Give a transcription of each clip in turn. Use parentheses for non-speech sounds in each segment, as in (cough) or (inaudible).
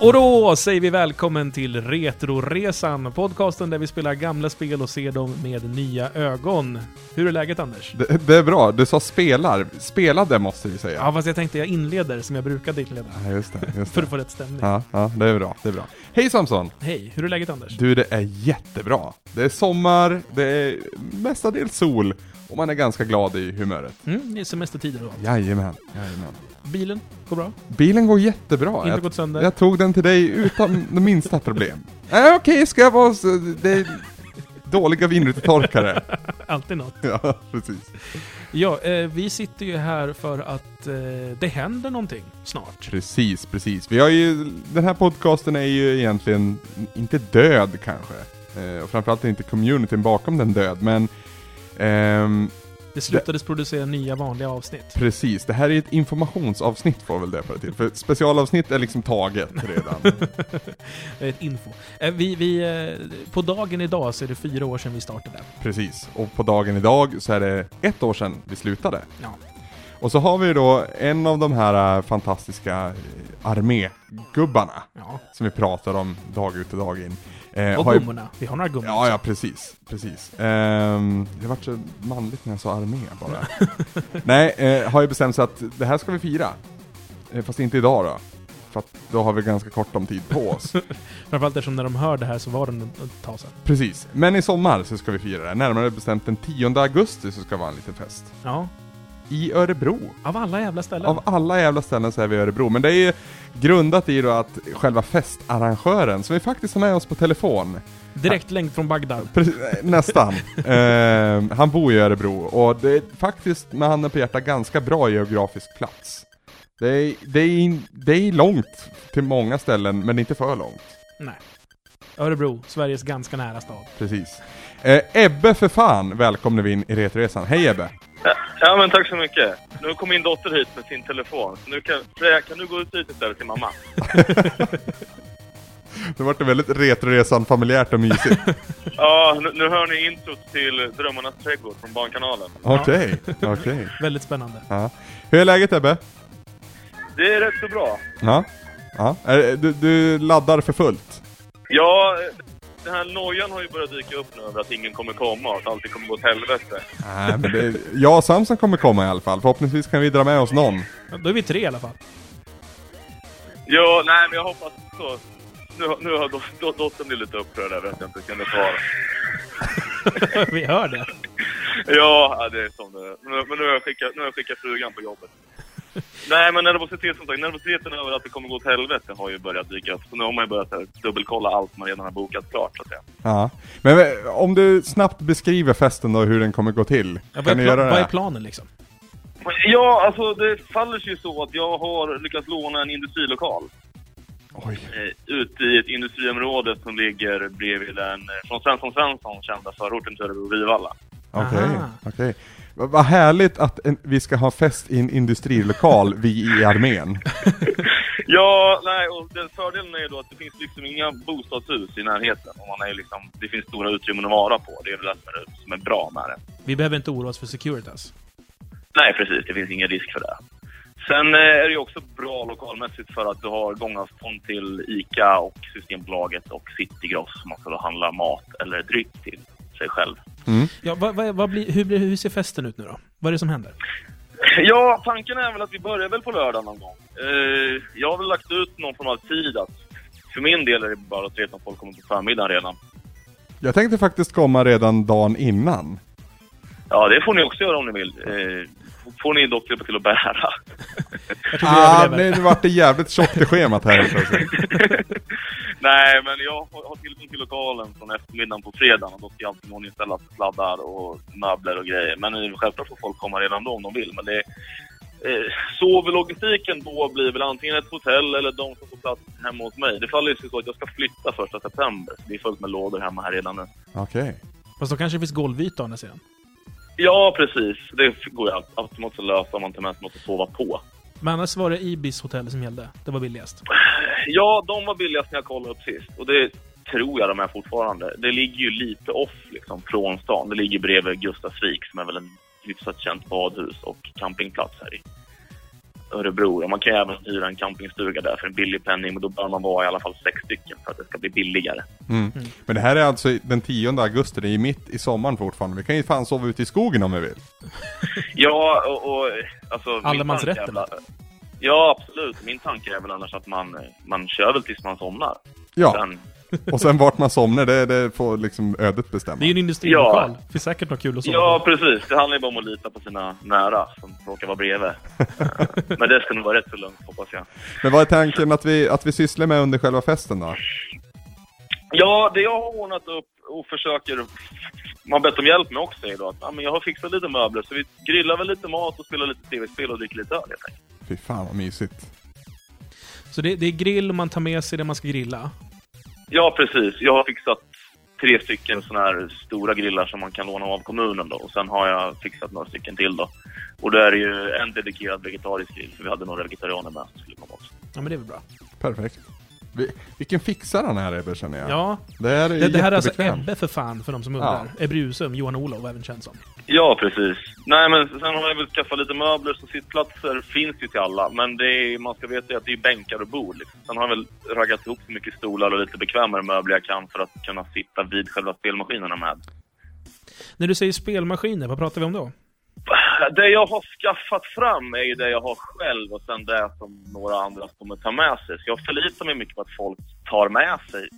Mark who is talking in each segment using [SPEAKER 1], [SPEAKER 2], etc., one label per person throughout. [SPEAKER 1] Och då säger vi välkommen till Retroresan, podcasten där vi spelar gamla spel och ser dem med nya ögon. Hur är läget Anders?
[SPEAKER 2] Det, det är bra, du sa spelar. Spelade måste vi säga.
[SPEAKER 1] Ja, fast jag tänkte jag inleder som jag brukade inleda.
[SPEAKER 2] Ja, just det. Just
[SPEAKER 1] För att
[SPEAKER 2] det.
[SPEAKER 1] få rätt stämning.
[SPEAKER 2] Ja, ja, det är bra. Det är bra. Hej Samson!
[SPEAKER 1] Hej, hur är läget Anders?
[SPEAKER 2] Du, det är jättebra. Det är sommar, det är mestadels sol och man är ganska glad i humöret.
[SPEAKER 1] Mm, det är semestertider då.
[SPEAKER 2] Jajamän, jajamän.
[SPEAKER 1] Bilen går bra?
[SPEAKER 2] Bilen går jättebra.
[SPEAKER 1] Inte
[SPEAKER 2] Jag,
[SPEAKER 1] gått sönder?
[SPEAKER 2] jag tog den till dig utan det minsta problem. Äh, Okej, ska jag vara så... Det är dåliga vindrutetorkare.
[SPEAKER 1] (laughs) Alltid något.
[SPEAKER 2] Ja, precis.
[SPEAKER 1] Ja, eh, vi sitter ju här för att eh, det händer någonting snart.
[SPEAKER 2] Precis, precis. Vi har ju, den här podcasten är ju egentligen inte död kanske. Eh, och framförallt är inte communityn bakom den död, men ehm,
[SPEAKER 1] Det slutades producera nya vanliga avsnitt.
[SPEAKER 2] precis, det här är ett informationsavsnitt får väl det på det till. För specialavsnitt är liksom taget redan.
[SPEAKER 1] Det är ett info. Eh, vi, vi, eh, på dagen idag så är det fyra år sedan vi startade.
[SPEAKER 2] precis. Och på dagen idag så är det ett år sedan vi slutade.
[SPEAKER 1] Ja.
[SPEAKER 2] Och så har vi då en av de här eh, fantastiska eh, armégubbarna
[SPEAKER 1] Ja.
[SPEAKER 2] som vi pratar om dag ut och dag in. Eh,
[SPEAKER 1] Och
[SPEAKER 2] har ju-
[SPEAKER 1] gummorna. Vi har några gummor.
[SPEAKER 2] Ja, ja precis. precis. Ehm, det vart så manligt när jag sa armé bara. Nej, eh, har ju bestämt sig att det här ska vi fira. Eh, fast inte idag då. För att då har vi ganska kort om tid på oss.
[SPEAKER 1] Framförallt eftersom när de hör det här så var den ett tag sedan.
[SPEAKER 2] precis. Men i sommar så ska vi fira det. Närmare bestämt den 10 augusti så ska det vara en liten fest.
[SPEAKER 1] Ja.
[SPEAKER 2] I Örebro.
[SPEAKER 1] Av alla jävla ställen.
[SPEAKER 2] Av alla jävla ställen så är vi i Örebro. Men det är ju grundat i då att själva festarrangören, som vi faktiskt har med oss på telefon,
[SPEAKER 1] Direkt länk från Bagdad.
[SPEAKER 2] Precis, eh, nästan. eh, han bor i Örebro och det är faktiskt med handen på hjärtat ganska bra geografisk plats. Det är, det, är, in- det är långt till många ställen, men inte för långt.
[SPEAKER 1] Nej. Örebro, Sveriges ganska nära stad.
[SPEAKER 2] Precis. Eh, Ebbe för fan välkomnar vi in i Retroresan. Hej Ebbe!
[SPEAKER 3] Ja, men tack så mycket. Nu kom min dotter hit med sin telefon. Så nu kan, Freja, kan du gå ut hit istället till mamma?
[SPEAKER 2] Det vart väldigt Retroresan familjärt och mysigt.
[SPEAKER 3] Ja, nu, nu hör ni introt till Drömmarnas trädgård från Barnkanalen.
[SPEAKER 2] (laughs) Okej, okej.
[SPEAKER 1] Väldigt spännande.
[SPEAKER 2] Ja. Hur är läget Ebbe?
[SPEAKER 3] Det är rätt så bra.
[SPEAKER 2] Ja. ja. Eh, Du, du laddar för fullt?
[SPEAKER 3] Ja, den här nojan har ju börjat dyka upp nu över att ingen kommer komma och att allting kommer gå åt helvete.
[SPEAKER 2] Nej, men det, jag och Samson kommer komma i alla fall. Förhoppningsvis kan vi dra med oss någon.
[SPEAKER 1] Då är vi tre i alla fall. (laughs)
[SPEAKER 3] Ja, nej, men jag hoppas så. Nu, nu har do, do, dottern blivit lite upprörd över att jag inte kunde svara.
[SPEAKER 1] vi hör det.
[SPEAKER 3] Ja, ja, det är som det är. Men, men nu har jag skickat, nu har jag skickat frugan på (laughs) jobbet. Nej, men nervositet, som sagt, nervositeten över att det kommer gå åt helvete har ju börjat dyka upp. Så nu har man ju börjat så här, dubbelkolla allt man redan har bokat klart, så att säga.
[SPEAKER 2] Ja. Men eh, om du snabbt beskriver festen då, hur den kommer gå till.
[SPEAKER 1] Ja, vad,
[SPEAKER 2] kan
[SPEAKER 1] är
[SPEAKER 2] du
[SPEAKER 1] pla-
[SPEAKER 2] göra
[SPEAKER 1] vad är
[SPEAKER 2] det?
[SPEAKER 1] planen liksom?
[SPEAKER 3] Ja, alltså det faller sig ju så att jag har lyckats låna en industrilokal
[SPEAKER 2] Oj.
[SPEAKER 3] eh, ute i ett industriområde som ligger bredvid den eh, från Svensson Svensson kända förorten till Örebro Vivalla.
[SPEAKER 2] Okej,
[SPEAKER 1] Aha.
[SPEAKER 2] okej. Va- Vad härligt att en, vi ska ha fest i en industrilokal, vi i armén.
[SPEAKER 3] Ja, nej, och den fördelen är ju då att det finns liksom inga bostadshus i närheten. Och man är ju liksom, det finns stora utrymmen att vara på. Det är väl det som är- som är bra med det.
[SPEAKER 1] Vi behöver inte oroa oss för Securitas.
[SPEAKER 3] Nej, precis. Det finns ingen risk för det. Sen eh, är det ju också bra lokalmässigt för att du har gångavstånd till ICA och Systembolaget och Citygross som man ska då handla mat eller dryck till sig själv. (laughs)
[SPEAKER 2] Mm.
[SPEAKER 1] Ja, vad, vad, vad blir, hur, blir, hur ser festen ut nu då? Vad är det som händer?
[SPEAKER 3] Ja, tanken är väl att vi börjar väl på lördag någon gång. Eh, jag har väl lagt ut någon form av tid att för min del är det bara trevligt om folk kommer på förmiddagen redan.
[SPEAKER 2] Jag tänkte faktiskt komma redan dagen innan.
[SPEAKER 3] Ja, det får ni också göra om ni vill. Eh, får ni dock hjälpa till att bära. (laughs)
[SPEAKER 1] Jag tror vi
[SPEAKER 2] Ah,
[SPEAKER 1] överlever.
[SPEAKER 2] nej, nu vart det jävligt tjockt i schemat här helt plötsligt.
[SPEAKER 3] Nej, men jag har har tillgång till lokalen från eftermiddagen på fredagen och då ska alltid någon inställa sladdar och möbler och grejer. Men eh, självklart får folk komma redan då om de vill. Men det, eh, så vid logistiken då blir väl antingen ett hotell eller de som får plats hemma hos mig. Det faller ju sig så att jag ska flytta första september. Det är fullt med lådor hemma här redan nu.
[SPEAKER 2] Okej.
[SPEAKER 1] Fast då kanske det finns golvyta å andra sidan.
[SPEAKER 3] Ja, precis. Det går ju att- automatiskt att lösa om man inte ens måste sova på.
[SPEAKER 1] Men annars var det Ibis hotell som gällde. Det var billigast.
[SPEAKER 3] Ja, de var billigast när jag kollade upp sist. Och det tror jag de är fortfarande. Det ligger ju lite off liksom, från stan. Det ligger bredvid Gustavsvik som är väl en hyfsat känt badhus och campingplats här i. Örebro. Och man kan ju även hyra en campingstuga där för en billig penning, men då bör man vara i alla fall sex stycken för att det ska bli billigare.
[SPEAKER 2] Mm. Men det här är alltså i- den 10 augusti, det är ju mitt i sommaren fortfarande. Vi kan ju fan sova ute i skogen om vi vill.
[SPEAKER 3] Ja, och... och alltså, min
[SPEAKER 1] Allemansrätten.
[SPEAKER 3] tanke är väl- Ja, absolut. Min tanke är väl annars att man, man kör väl tills man somnar.
[SPEAKER 2] Ja,
[SPEAKER 3] Sen,
[SPEAKER 2] och sen vart man somnar, det, det får liksom ödet bestämma.
[SPEAKER 1] Det är ju en industrilokal. Finns säkert något kul att sova
[SPEAKER 3] ja,
[SPEAKER 1] på.
[SPEAKER 3] precis. Det handlar ju bara om att lita på sina nära som råkar vara bredvid. Eh, men det ska nog vara rätt så lugnt, hoppas jag.
[SPEAKER 2] Men vad är tanken att vi, att vi sysslar med under själva festen då?
[SPEAKER 3] Ja, det jag har ordnat upp och försöker... Man har bett om hjälp med också idag. Att, ja, men jag har fixat lite möbler, så vi grillar väl lite mat och spelar lite tv-spel och dricker lite öl, helt enkelt.
[SPEAKER 2] Fy fan vad mysigt.
[SPEAKER 1] Så det, det är grill och man tar med sig det man ska grilla.
[SPEAKER 3] Ja, precis. Jag har fixat tre stycken såna här stora grillar som man kan låna av kommunen då. Och sen har jag fixat några stycken till då. Och då är det ju en dedikerad vegetarisk grill, för vi hade några vegetarianer med som skulle komma också.
[SPEAKER 1] Ja, men det är väl bra.
[SPEAKER 2] Perfekt. Vi, vilken fixare han är Ebbe känner jag.
[SPEAKER 1] Ja.
[SPEAKER 2] Det här är
[SPEAKER 1] Det, det här är alltså
[SPEAKER 2] jättebekvämt.
[SPEAKER 1] Ebbe för fan, för de som undrar. Ebbe Husum, Johan Olof, även känd som.
[SPEAKER 3] Ja, precis. Nej, men sen har jag väl skaffat lite möbler, så sittplatser finns ju till alla. Men det är, man ska veta att det är bänkar och bord. Liksom. Sen har jag väl raggat ihop så mycket stolar och lite bekvämare möbler jag kan för att kunna sitta vid själva spelmaskinerna med.
[SPEAKER 1] När du säger spelmaskiner, vad pratar vi om då?
[SPEAKER 3] Det jag har skaffat fram är ju det jag har själv och sen det som några andra kommer ta med sig. Så jag förlitar mig mycket på att folk tar med sig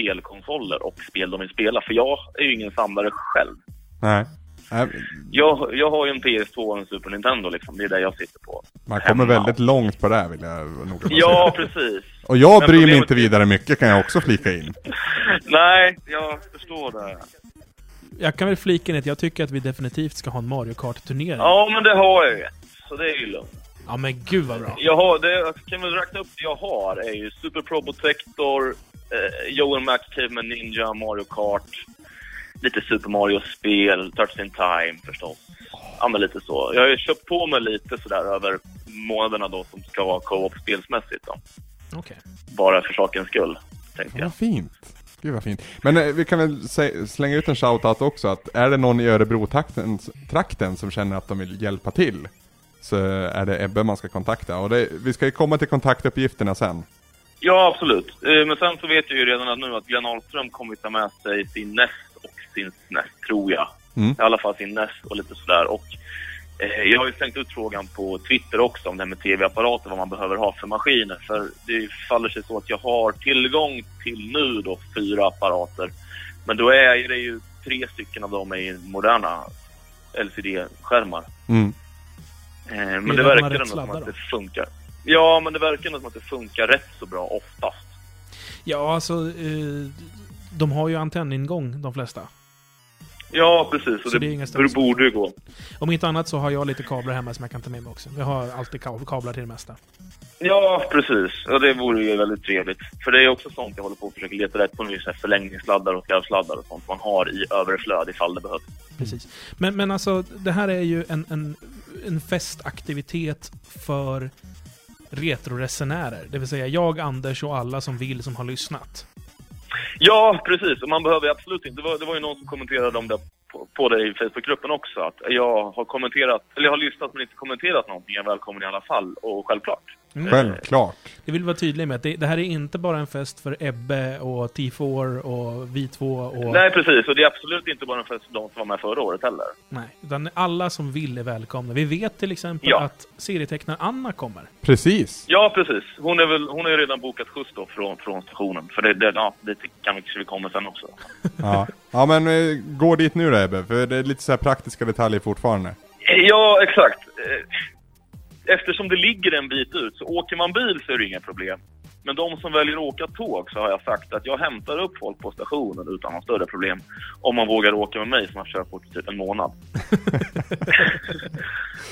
[SPEAKER 3] spelkonsoler och spel de vill spela. För jag är ju ingen samlare själv.
[SPEAKER 2] Nej. Nej.
[SPEAKER 3] Jag, jag har ju en PS2 och en Super Nintendo liksom. Det är det jag sitter på.
[SPEAKER 2] Man kommer
[SPEAKER 3] Hemma.
[SPEAKER 2] väldigt långt på det här vill jag nog kunna
[SPEAKER 3] Ja,
[SPEAKER 2] säga.
[SPEAKER 3] precis.
[SPEAKER 2] Och jag
[SPEAKER 3] Men
[SPEAKER 2] bryr mig
[SPEAKER 3] problemet
[SPEAKER 2] inte
[SPEAKER 3] är-
[SPEAKER 2] vidare mycket kan jag också flika in.
[SPEAKER 3] Nej, jag förstår det.
[SPEAKER 1] Jag kan väl flika in att jag tycker att vi definitivt ska ha en Mario Kart-turnering.
[SPEAKER 3] Ja, men det har jag ju. Så det är ju lugnt.
[SPEAKER 1] Ja, men gud vad bra.
[SPEAKER 3] Jag har, det, jag kan väl räkna upp det jag har. är ju Super Pro Protector, eh, Joel Max Caveman Ninja, Mario Kart, lite Super Mario-spel, Touch in Time förstås. Ja, men lite så. Jag har ju köpt på mig lite sådär över månaderna då som ska vara co-op spelsmässigt då.
[SPEAKER 1] Okej.
[SPEAKER 3] Bara för sakens skull,
[SPEAKER 2] Ja,
[SPEAKER 3] tänkte jag.
[SPEAKER 2] vad fint. Gud vad fint. Men eh, vi kan väl sä- slänga ut en shoutout också att är det någon i Örebro-trakten trakten som känner att de vill hjälpa till så är det Ebbe man ska kontakta. Och det, vi ska ju komma till kontaktuppgifterna sen.
[SPEAKER 3] Ja, absolut. Eh, Men sen så vet jag ju redan att nu att Glenn Ahlström kommer att ta med sig sin näst och sin snäst, tror jag.
[SPEAKER 2] Mm.
[SPEAKER 3] I alla fall sin näst och lite sådär. Och eh, jag har ju slängt ut frågan på Twitter också om det här med tv-apparater, vad man behöver ha för maskiner. För det faller sig så att jag har tillgång till nu då fyra apparater. Men då är det ju tre stycken av dem är ju moderna LCD-skärmar.
[SPEAKER 2] Mm.
[SPEAKER 3] Eh, Men
[SPEAKER 1] Medan
[SPEAKER 3] det
[SPEAKER 1] de har
[SPEAKER 3] verkar
[SPEAKER 1] rätt
[SPEAKER 3] ändå som
[SPEAKER 1] sladdar
[SPEAKER 3] att
[SPEAKER 1] då?
[SPEAKER 3] det funkar. Ja, men det verkar ändå som att det funkar rätt så bra oftast.
[SPEAKER 1] Ja, alltså... Eh, de har ju antenningång, de flesta.
[SPEAKER 3] Ja, precis. Och
[SPEAKER 1] Så
[SPEAKER 3] det,
[SPEAKER 1] det är inga
[SPEAKER 3] det
[SPEAKER 1] stora-
[SPEAKER 3] borde ju gå.
[SPEAKER 1] Om inte annat så har jag lite kablar hemma som jag kan ta med mig också. Jag har alltid ka- kablar till det mesta.
[SPEAKER 3] Ja, precis. Och det vore ju väldigt trevligt. För det är också sånt jag håller på att försöka leta rätt på nu. Så här förlängningssladdar och skarvsladdar och sånt man har i överflöd ifall det behövs.
[SPEAKER 1] Precis. Men, men alltså, det här är ju en, en, en festaktivitet för retroresenärer. Det vill säga jag, Anders och alla som vill som har lyssnat.
[SPEAKER 3] Ja, precis. Och man behöver ju absolut inte... Det var, det var ju någon som kommenterade om det på, på det i Facebookgruppen också. Att jag har kommenterat... Eller jag har lyssnat men inte kommenterat någonting. Jag är välkommen i alla fall. Och självklart.
[SPEAKER 1] Mm.
[SPEAKER 2] Självklart.
[SPEAKER 1] Jag vill vara tydlig med att det, det här är inte bara en fest för Ebbe och T4 och vi två och...
[SPEAKER 3] Nej, precis. Och det är absolut inte bara för de som var med förra året heller.
[SPEAKER 1] Nej, utan alla som vill är välkomna. Vi vet till exempel
[SPEAKER 3] Ja.
[SPEAKER 1] att serietecknaren Anna kommer.
[SPEAKER 2] Precis.
[SPEAKER 3] Ja, precis. Hon är väl... Hon har ju redan bokat skjuts då från, från stationen. För det, det, ja, det kan vi, vi kommer sen också.
[SPEAKER 2] Ja, ja men eh, gå dit nu då Ebbe, för det är lite så här praktiska detaljer fortfarande.
[SPEAKER 3] Ja, exakt. Eh, Eftersom det ligger en bit ut, så åker man bil så är det inga problem. Men de som väljer att åka tåg så har jag sagt att jag hämtar upp folk på stationen utan några större problem. Om man vågar åka med mig som har körkort i typ en månad.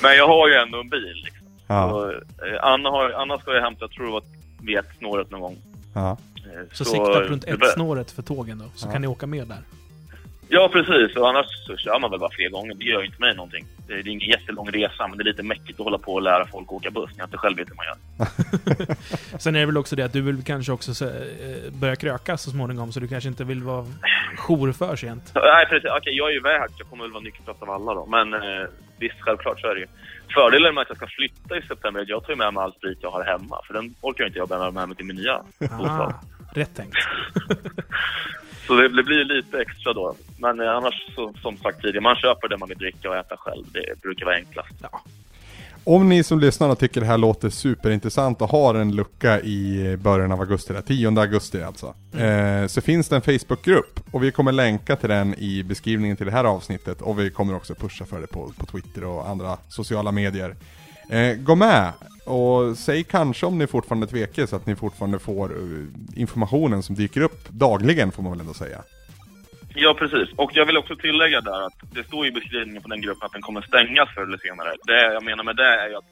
[SPEAKER 3] Men jag har ju ändå en bil. Liksom.
[SPEAKER 2] Ja,
[SPEAKER 3] Så, eh, Anna, har, Anna ska jag hämta, jag tror det var vid ett snåret någon gång.
[SPEAKER 2] ja.
[SPEAKER 3] Eh,
[SPEAKER 1] Så, sikta på
[SPEAKER 3] eh,
[SPEAKER 1] runt
[SPEAKER 3] det bör-
[SPEAKER 1] ett snåret för tågen då, så
[SPEAKER 2] Ja.
[SPEAKER 1] kan ni åka med där.
[SPEAKER 3] Ja, precis. Och annars så kör man väl bara fler gånger. Det gör ju inte mig någonting. Det är ingen jättelång resa, men det är lite mäckigt att hålla på och lära folk att åka buss när jag inte själv vet hur man gör.
[SPEAKER 1] Sen är det väl också det att du vill kanske också så, eh, börja kröka så småningom, så du kanske inte vill vara jourför sent.
[SPEAKER 3] Så, Nej, precis. Okej, jag är ju iväg. Jag kommer väl vara nykterast av alla då. Men eh, visst, självklart så är det ju. Fördelen med att jag ska flytta i september är att jag tar ju med mig all sprit jag har hemma. För den orkar ju inte jag bära med mig till min nya
[SPEAKER 1] Ah,
[SPEAKER 3] bostad.
[SPEAKER 1] rätt tänkt.
[SPEAKER 3] Så det, det blir ju lite extra då. Men eh, annars, så, som sagt tidigare, man köper det man vill dricka och äta själv. Det brukar vara enklast.
[SPEAKER 1] Ja.
[SPEAKER 2] Om ni som lyssnar tycker det här låter superintressant och har en lucka i början av augusti, där, 10 augusti alltså,
[SPEAKER 3] Mm.
[SPEAKER 2] eh, så finns det en Facebookgrupp och vi kommer länka till den i beskrivningen till det här avsnittet och vi kommer också pusha för det på, på Twitter och andra sociala medier. Eh, gå med och säg kanske om ni fortfarande tvekar så att ni fortfarande får eh, informationen som dyker upp dagligen får man väl ändå säga.
[SPEAKER 3] Ja, precis. Och jag vill också tillägga där att det står ju i beskrivningen på den gruppen att den kommer stängas förr eller senare. Det jag menar med det är ju att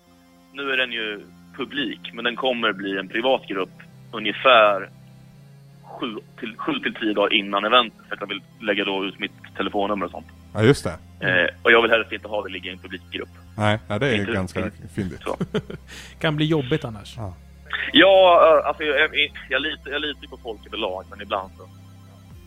[SPEAKER 3] nu är den ju publik, men den kommer bli en privat grupp ungefär 7 till, 7 till 10 dagar innan eventet. För att jag vill lägga då ut mitt telefonnummer och sånt.
[SPEAKER 2] Ja just det.
[SPEAKER 3] Eh, och jag vill helst inte ha det ligga i en publikgrupp.
[SPEAKER 2] Nej, nej det är
[SPEAKER 3] Inte-
[SPEAKER 2] ganska
[SPEAKER 3] inte-
[SPEAKER 2] fyndigt.
[SPEAKER 3] Så. (laughs)
[SPEAKER 1] Kan bli jobbigt annars.
[SPEAKER 3] Ja, eh, alltså jag, jag, jag, litar, jag litar på folk överlag, men ibland så...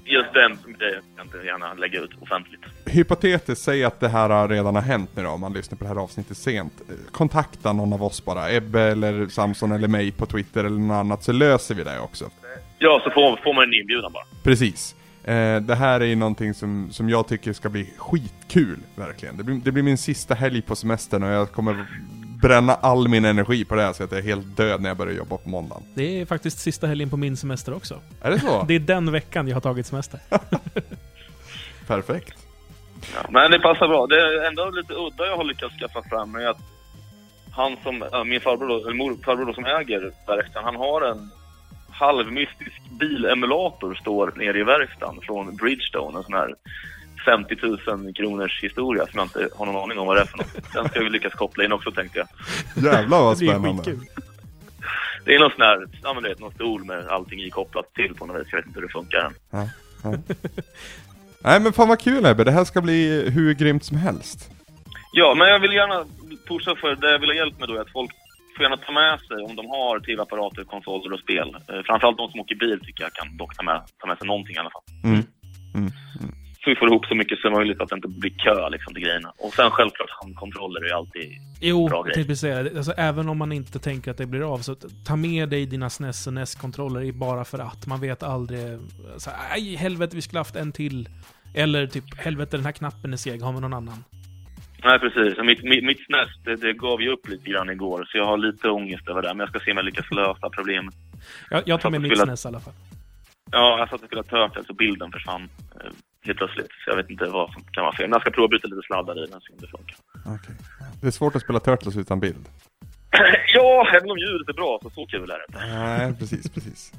[SPEAKER 3] Just den grejen kan jag inte gärna lägga ut offentligt.
[SPEAKER 2] Hypotetiskt, säg att det här har redan har hänt nu då, om man lyssnar på det här avsnittet sent. Eh, Kontakta någon av oss bara, Ebbe eller Samson eller mig på Twitter eller något annat, så löser vi det också.
[SPEAKER 3] Ja, så får, får man en inbjudan bara.
[SPEAKER 2] Precis. Eh, det här är ju någonting som, som jag tycker ska bli skitkul, verkligen. Det blir, det blir min sista helg på semestern och jag kommer bränna all min energi på det här så att jag är helt död när jag börjar jobba på måndagen.
[SPEAKER 1] Det är faktiskt sista helgen på min semester också.
[SPEAKER 2] Är det så?
[SPEAKER 1] Det är den veckan jag har tagit semester.
[SPEAKER 2] Perfekt.
[SPEAKER 3] Ja, men det passar bra. Det är ändå lite udda jag har lyckats skaffa fram är att han som, äh, min farbror då, eller mor, farbror då som äger verkstaden, han har en halvmystisk bilemulator står nere i verkstaden från Bridgestone, en sån här 50 000 kronors historia som jag inte har någon aning om vad det är för något. Den ska vi lyckas koppla in också tänkte jag.
[SPEAKER 2] Jävlar
[SPEAKER 1] (laughs)
[SPEAKER 2] vad
[SPEAKER 1] Det är ju
[SPEAKER 2] spännande.
[SPEAKER 1] skitkul.
[SPEAKER 3] Det är någon sån här, ja men du vet, någon stol med allting ikopplat till på något vis. Jag vet inte hur det funkar än.
[SPEAKER 2] Ja, ja. Nej men fan vad kul Ebbe, det här ska bli hur grymt som helst.
[SPEAKER 3] Ja, men jag vill gärna pusha för det jag vill ha hjälp med då är att folk får gärna ta med sig om de har tv-apparater, konsoler och spel. Eh, Framförallt de som åker bil tycker jag kan dock ta med, ta med sig någonting i alla fall.
[SPEAKER 2] Mm.
[SPEAKER 3] Så vi får ihop så mycket som möjligt att det inte blir kö liksom till grejerna. Och sen självklart handkontroller är ju alltid... Bra
[SPEAKER 1] Jo,
[SPEAKER 3] grej.
[SPEAKER 1] typ säga det. Alltså, även om man inte tänker att det blir av, så t- ta med dig dina SNES och NES-kontroller i bara för att. Man vet aldrig. Så, här, Aj, helvete, vi skulle haft en till. Eller typ, helvete, den här knappen är seg, har vi någon annan?
[SPEAKER 3] Nej precis, Och mitt, mitt, mitt snäs det, det gav ju upp lite grann igår så jag har lite ångest över det. Men jag ska se om jag lyckas lösa problemet.
[SPEAKER 1] Jag, jag tar med
[SPEAKER 3] Fast
[SPEAKER 1] mitt
[SPEAKER 3] spela-
[SPEAKER 1] SNES i alla fall.
[SPEAKER 3] Ja, jag satt och spelade Turtles och bilden försvann eh, helt plötsligt. Så jag vet inte vad som kan vara fel. Men jag ska prova att byta lite sladdar i den och se om det funkar.
[SPEAKER 2] Okej. Det är svårt att spela Turtles utan bild.
[SPEAKER 3] (clears throat) Ja, även om ljudet är bra så så kul är det inte.
[SPEAKER 2] Nej, precis, (laughs) precis.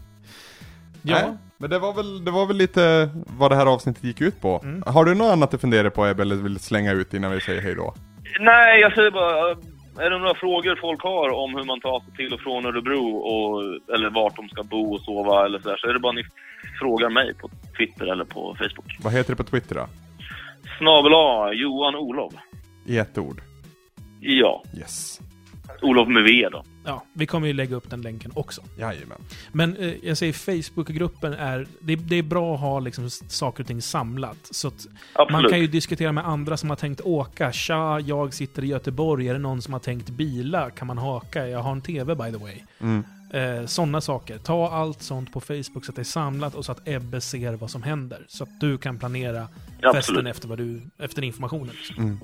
[SPEAKER 2] Nej,
[SPEAKER 1] Ja,
[SPEAKER 2] men det var, väl, det var väl lite vad det här avsnittet gick ut på. Har du något annat att fundera på Ebbe, eller vill slänga ut innan vi säger hej då?
[SPEAKER 3] Nej, jag säger bara, eh, är det några frågor folk har om hur man tar sig till och från Örebro och, eller vart de ska bo och sova eller sådär så är det bara ni frågar mig på Twitter eller på Facebook.
[SPEAKER 2] Vad heter det på Twitter då?
[SPEAKER 3] Snabel A, Johan Olof.
[SPEAKER 2] I ett ord.
[SPEAKER 3] Ja,
[SPEAKER 2] Yes.
[SPEAKER 3] Olof med V då.
[SPEAKER 1] ja, vi kommer ju lägga upp den länken också.
[SPEAKER 2] Jajamän.
[SPEAKER 1] Men eh, jag säger Facebookgruppen är... Det, det är bra att ha liksom, s- saker och ting samlat. Så att man
[SPEAKER 3] Absolut.
[SPEAKER 1] kan ju diskutera med andra som har tänkt åka. Tja, jag sitter i Göteborg. Är det någon som har tänkt bila? Kan man haka? Jag har en TV by the way.
[SPEAKER 2] Mm.
[SPEAKER 1] Eh, Sådana saker. Ta allt sånt på Facebook så att det är samlat och så att Ebbe ser vad som händer. Så att du kan planera festen
[SPEAKER 3] Absolut. Mm.
[SPEAKER 1] efter, vad du, efter informationen. liksom.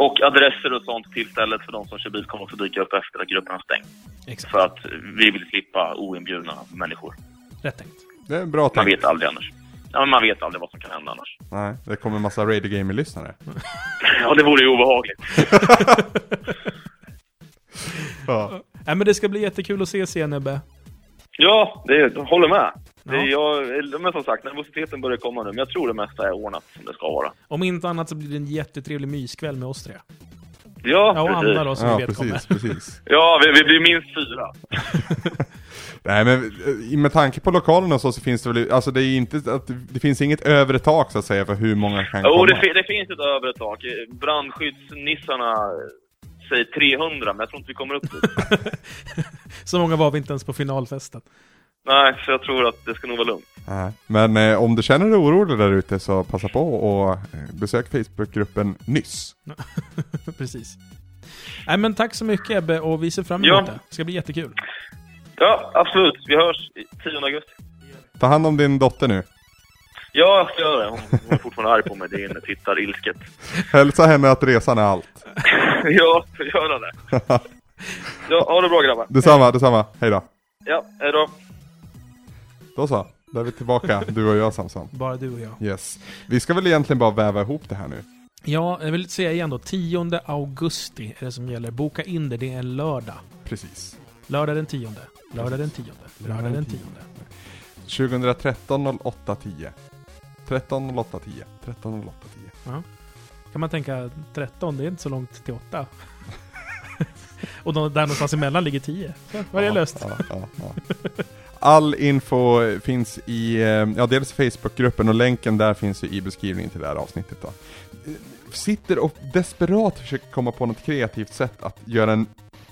[SPEAKER 3] Och adresser och sånt till stället för de som kör bil kommer också dyka upp efter att gruppen har stängt.
[SPEAKER 1] Exakt.
[SPEAKER 3] För att vi vill slippa oinbjudna människor.
[SPEAKER 1] Rätt tänkt.
[SPEAKER 2] Det är en bra
[SPEAKER 3] Man
[SPEAKER 2] tanke.
[SPEAKER 3] vet aldrig annars. Ja, men man vet aldrig vad som kan hända annars. (clears throat)
[SPEAKER 2] Nej, det kommer en massa Radio Gamer-lyssnare.
[SPEAKER 3] Ja, det vore ju obehagligt.
[SPEAKER 2] Ja.
[SPEAKER 1] Nej, Äh, men det ska bli jättekul att ses igen Ebbe.
[SPEAKER 3] Ja, det jag håller med.
[SPEAKER 1] Ja.
[SPEAKER 3] Det, jag, men som sagt, nervositeten börjar komma nu, men jag tror det mesta är ordnat som det ska vara.
[SPEAKER 1] Om inte annat så blir det en jättetrevlig myskväll med oss tre.
[SPEAKER 3] Ja,
[SPEAKER 1] Ja, och
[SPEAKER 3] precis.
[SPEAKER 1] Anna då som
[SPEAKER 2] ja,
[SPEAKER 1] är välkommen.
[SPEAKER 2] precis, precis.
[SPEAKER 3] Ja, vi, vi blir minst fyra.
[SPEAKER 2] Nej men eh, med tanke på lokalen och så, så finns det väl, alltså det är inte, att, det finns inget övre tak så att säga för hur många kan
[SPEAKER 3] Jo,
[SPEAKER 2] komma.
[SPEAKER 3] det, fi- det finns ett övre tak. Eh, Brandskyddsnissarna eh, säger 300, men jag tror inte vi kommer upp
[SPEAKER 1] (laughs)
[SPEAKER 3] dit.
[SPEAKER 1] (laughs) Så många var vi inte ens på finalfesten.
[SPEAKER 3] Nej, så jag tror att det ska nog vara lugnt.
[SPEAKER 2] Nej. Men eh, om du känner dig orolig där ute så passa på och eh, besök Facebookgruppen nyss.
[SPEAKER 1] (laughs) Precis. Nej, men tack så mycket Ebbe och vi ser fram
[SPEAKER 3] Ja.
[SPEAKER 1] emot det. Det ska bli jättekul.
[SPEAKER 3] Ja, absolut. Vi hörs i 10 augusti.
[SPEAKER 2] Ta hand om din dotter nu.
[SPEAKER 3] Ja, jag ska göra det. Hon, hon är fortfarande arg på mig. Det är en tittarilsket.
[SPEAKER 2] Hälsa henne att resan är allt.
[SPEAKER 3] (laughs) Ja, jag ska göra det.
[SPEAKER 1] (laughs)
[SPEAKER 3] Ja, ha det bra grabbar.
[SPEAKER 2] Detsamma, detsamma. Hej då.
[SPEAKER 3] Ja, hejdå.
[SPEAKER 2] Då så, då är vi tillbaka, du och jag Samson.
[SPEAKER 1] Bara du och jag.
[SPEAKER 2] Yes. Vi ska väl egentligen bara väva ihop det här nu.
[SPEAKER 1] Ja, jag vill säga igen då. 10 augusti är det som gäller. Boka in det. Det är en lördag.
[SPEAKER 2] Precis.
[SPEAKER 1] Lördag den 10. Lördag den 10. Lördag den 10.
[SPEAKER 2] 2013 08 10. 13 08 10. 13 08 10.
[SPEAKER 1] Kan man tänka 13, det är inte så långt till 8. (laughs) och då, där någonstans emellan ligger 10. Så, (laughs) Vad är det
[SPEAKER 2] Ja,
[SPEAKER 1] löst?
[SPEAKER 2] Ja, ja, ja. All info finns i, eh, ja dels Facebookgruppen och länken där finns ju i beskrivningen till det här avsnittet då. Eh, Sitter och desperat försöker komma på något kreativt sätt att göra en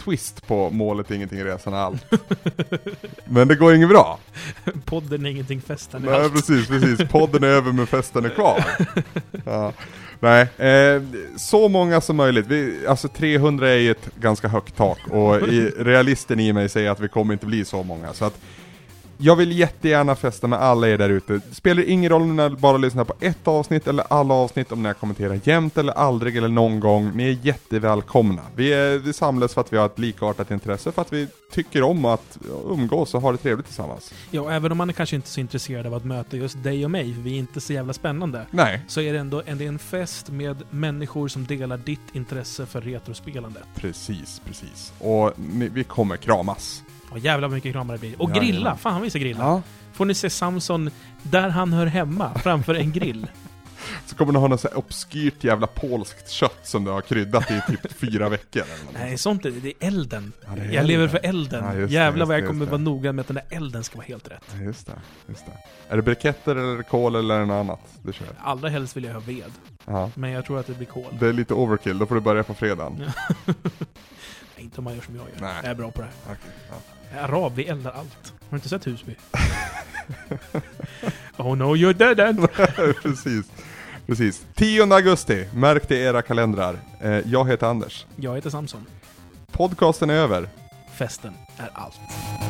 [SPEAKER 2] twist på målet ingenting resan
[SPEAKER 1] (laughs)
[SPEAKER 2] är allt. Men det går inget bra.
[SPEAKER 1] Podden är ingenting, festen är
[SPEAKER 2] Nej
[SPEAKER 1] allt.
[SPEAKER 2] precis, precis. Podden är över men festen är kvar. Ja. Nej, eh, så många som möjligt. Vi, alltså 300 är ju ett ganska högt tak och i, realisten i mig säger att vi kommer inte bli så många. Så att jag vill jättegärna festa med alla er där ute. Spelar ingen roll om ni bara lyssnar på ett avsnitt eller alla avsnitt, om ni kommenterar jämt eller aldrig eller någon gång. Ni är jättevälkomna. Vi, är, vi samlas för att vi har ett likartat intresse, för att vi tycker om att umgås och ha det trevligt tillsammans.
[SPEAKER 1] Ja, och även om man är kanske inte är så intresserad av att möta just dig och mig, för vi är inte så jävla spännande,
[SPEAKER 2] Nej,
[SPEAKER 1] så är det ändå en, det är en fest med människor som delar ditt intresse för retrospelandet.
[SPEAKER 2] Precis, precis. Och ni, vi kommer kramas.
[SPEAKER 1] Och jävlar vad mycket kramar det blir. Och
[SPEAKER 2] Ja,
[SPEAKER 1] grilla!
[SPEAKER 2] ja.
[SPEAKER 1] Fan, vi ska grilla. Får ni se Samson där han hör hemma, framför en
[SPEAKER 2] (laughs)
[SPEAKER 1] grill.
[SPEAKER 2] Så kommer du ha något så här obskyrt jävla polskt kött som du har kryddat i typ fyra veckor eller något.
[SPEAKER 1] Nej, sånt är det. är elden.
[SPEAKER 2] Ja, det är
[SPEAKER 1] jag
[SPEAKER 2] elden.
[SPEAKER 1] lever för elden.
[SPEAKER 2] Ja, just det,
[SPEAKER 1] jävlar
[SPEAKER 2] just
[SPEAKER 1] vad
[SPEAKER 2] det,
[SPEAKER 1] jag kommer
[SPEAKER 2] just
[SPEAKER 1] vara
[SPEAKER 2] det.
[SPEAKER 1] noga med att den där elden ska vara helt rätt.
[SPEAKER 2] Ja, Just det, just det. Är det briketter eller är det kol eller är det något annat du kör?
[SPEAKER 1] Allra helst vill jag ha ved,
[SPEAKER 2] Ja.
[SPEAKER 1] men jag tror att det blir kol.
[SPEAKER 2] Det är lite overkill, då får du börja på fredagen.
[SPEAKER 1] Nej, Inte om man gör som jag gör.
[SPEAKER 2] Nej.
[SPEAKER 1] Jag är bra på det
[SPEAKER 2] Okej, ja. (laughs)
[SPEAKER 1] här. Arab, vi eldar allt. Har du inte sett Husby? (laughs) oh no, you're dead!
[SPEAKER 2] precis. Precis. 10 augusti, märk det i era kalendrar. Eh, jag heter Anders.
[SPEAKER 1] Jag heter Samson.
[SPEAKER 2] Podcasten är över.
[SPEAKER 1] Festen är allt.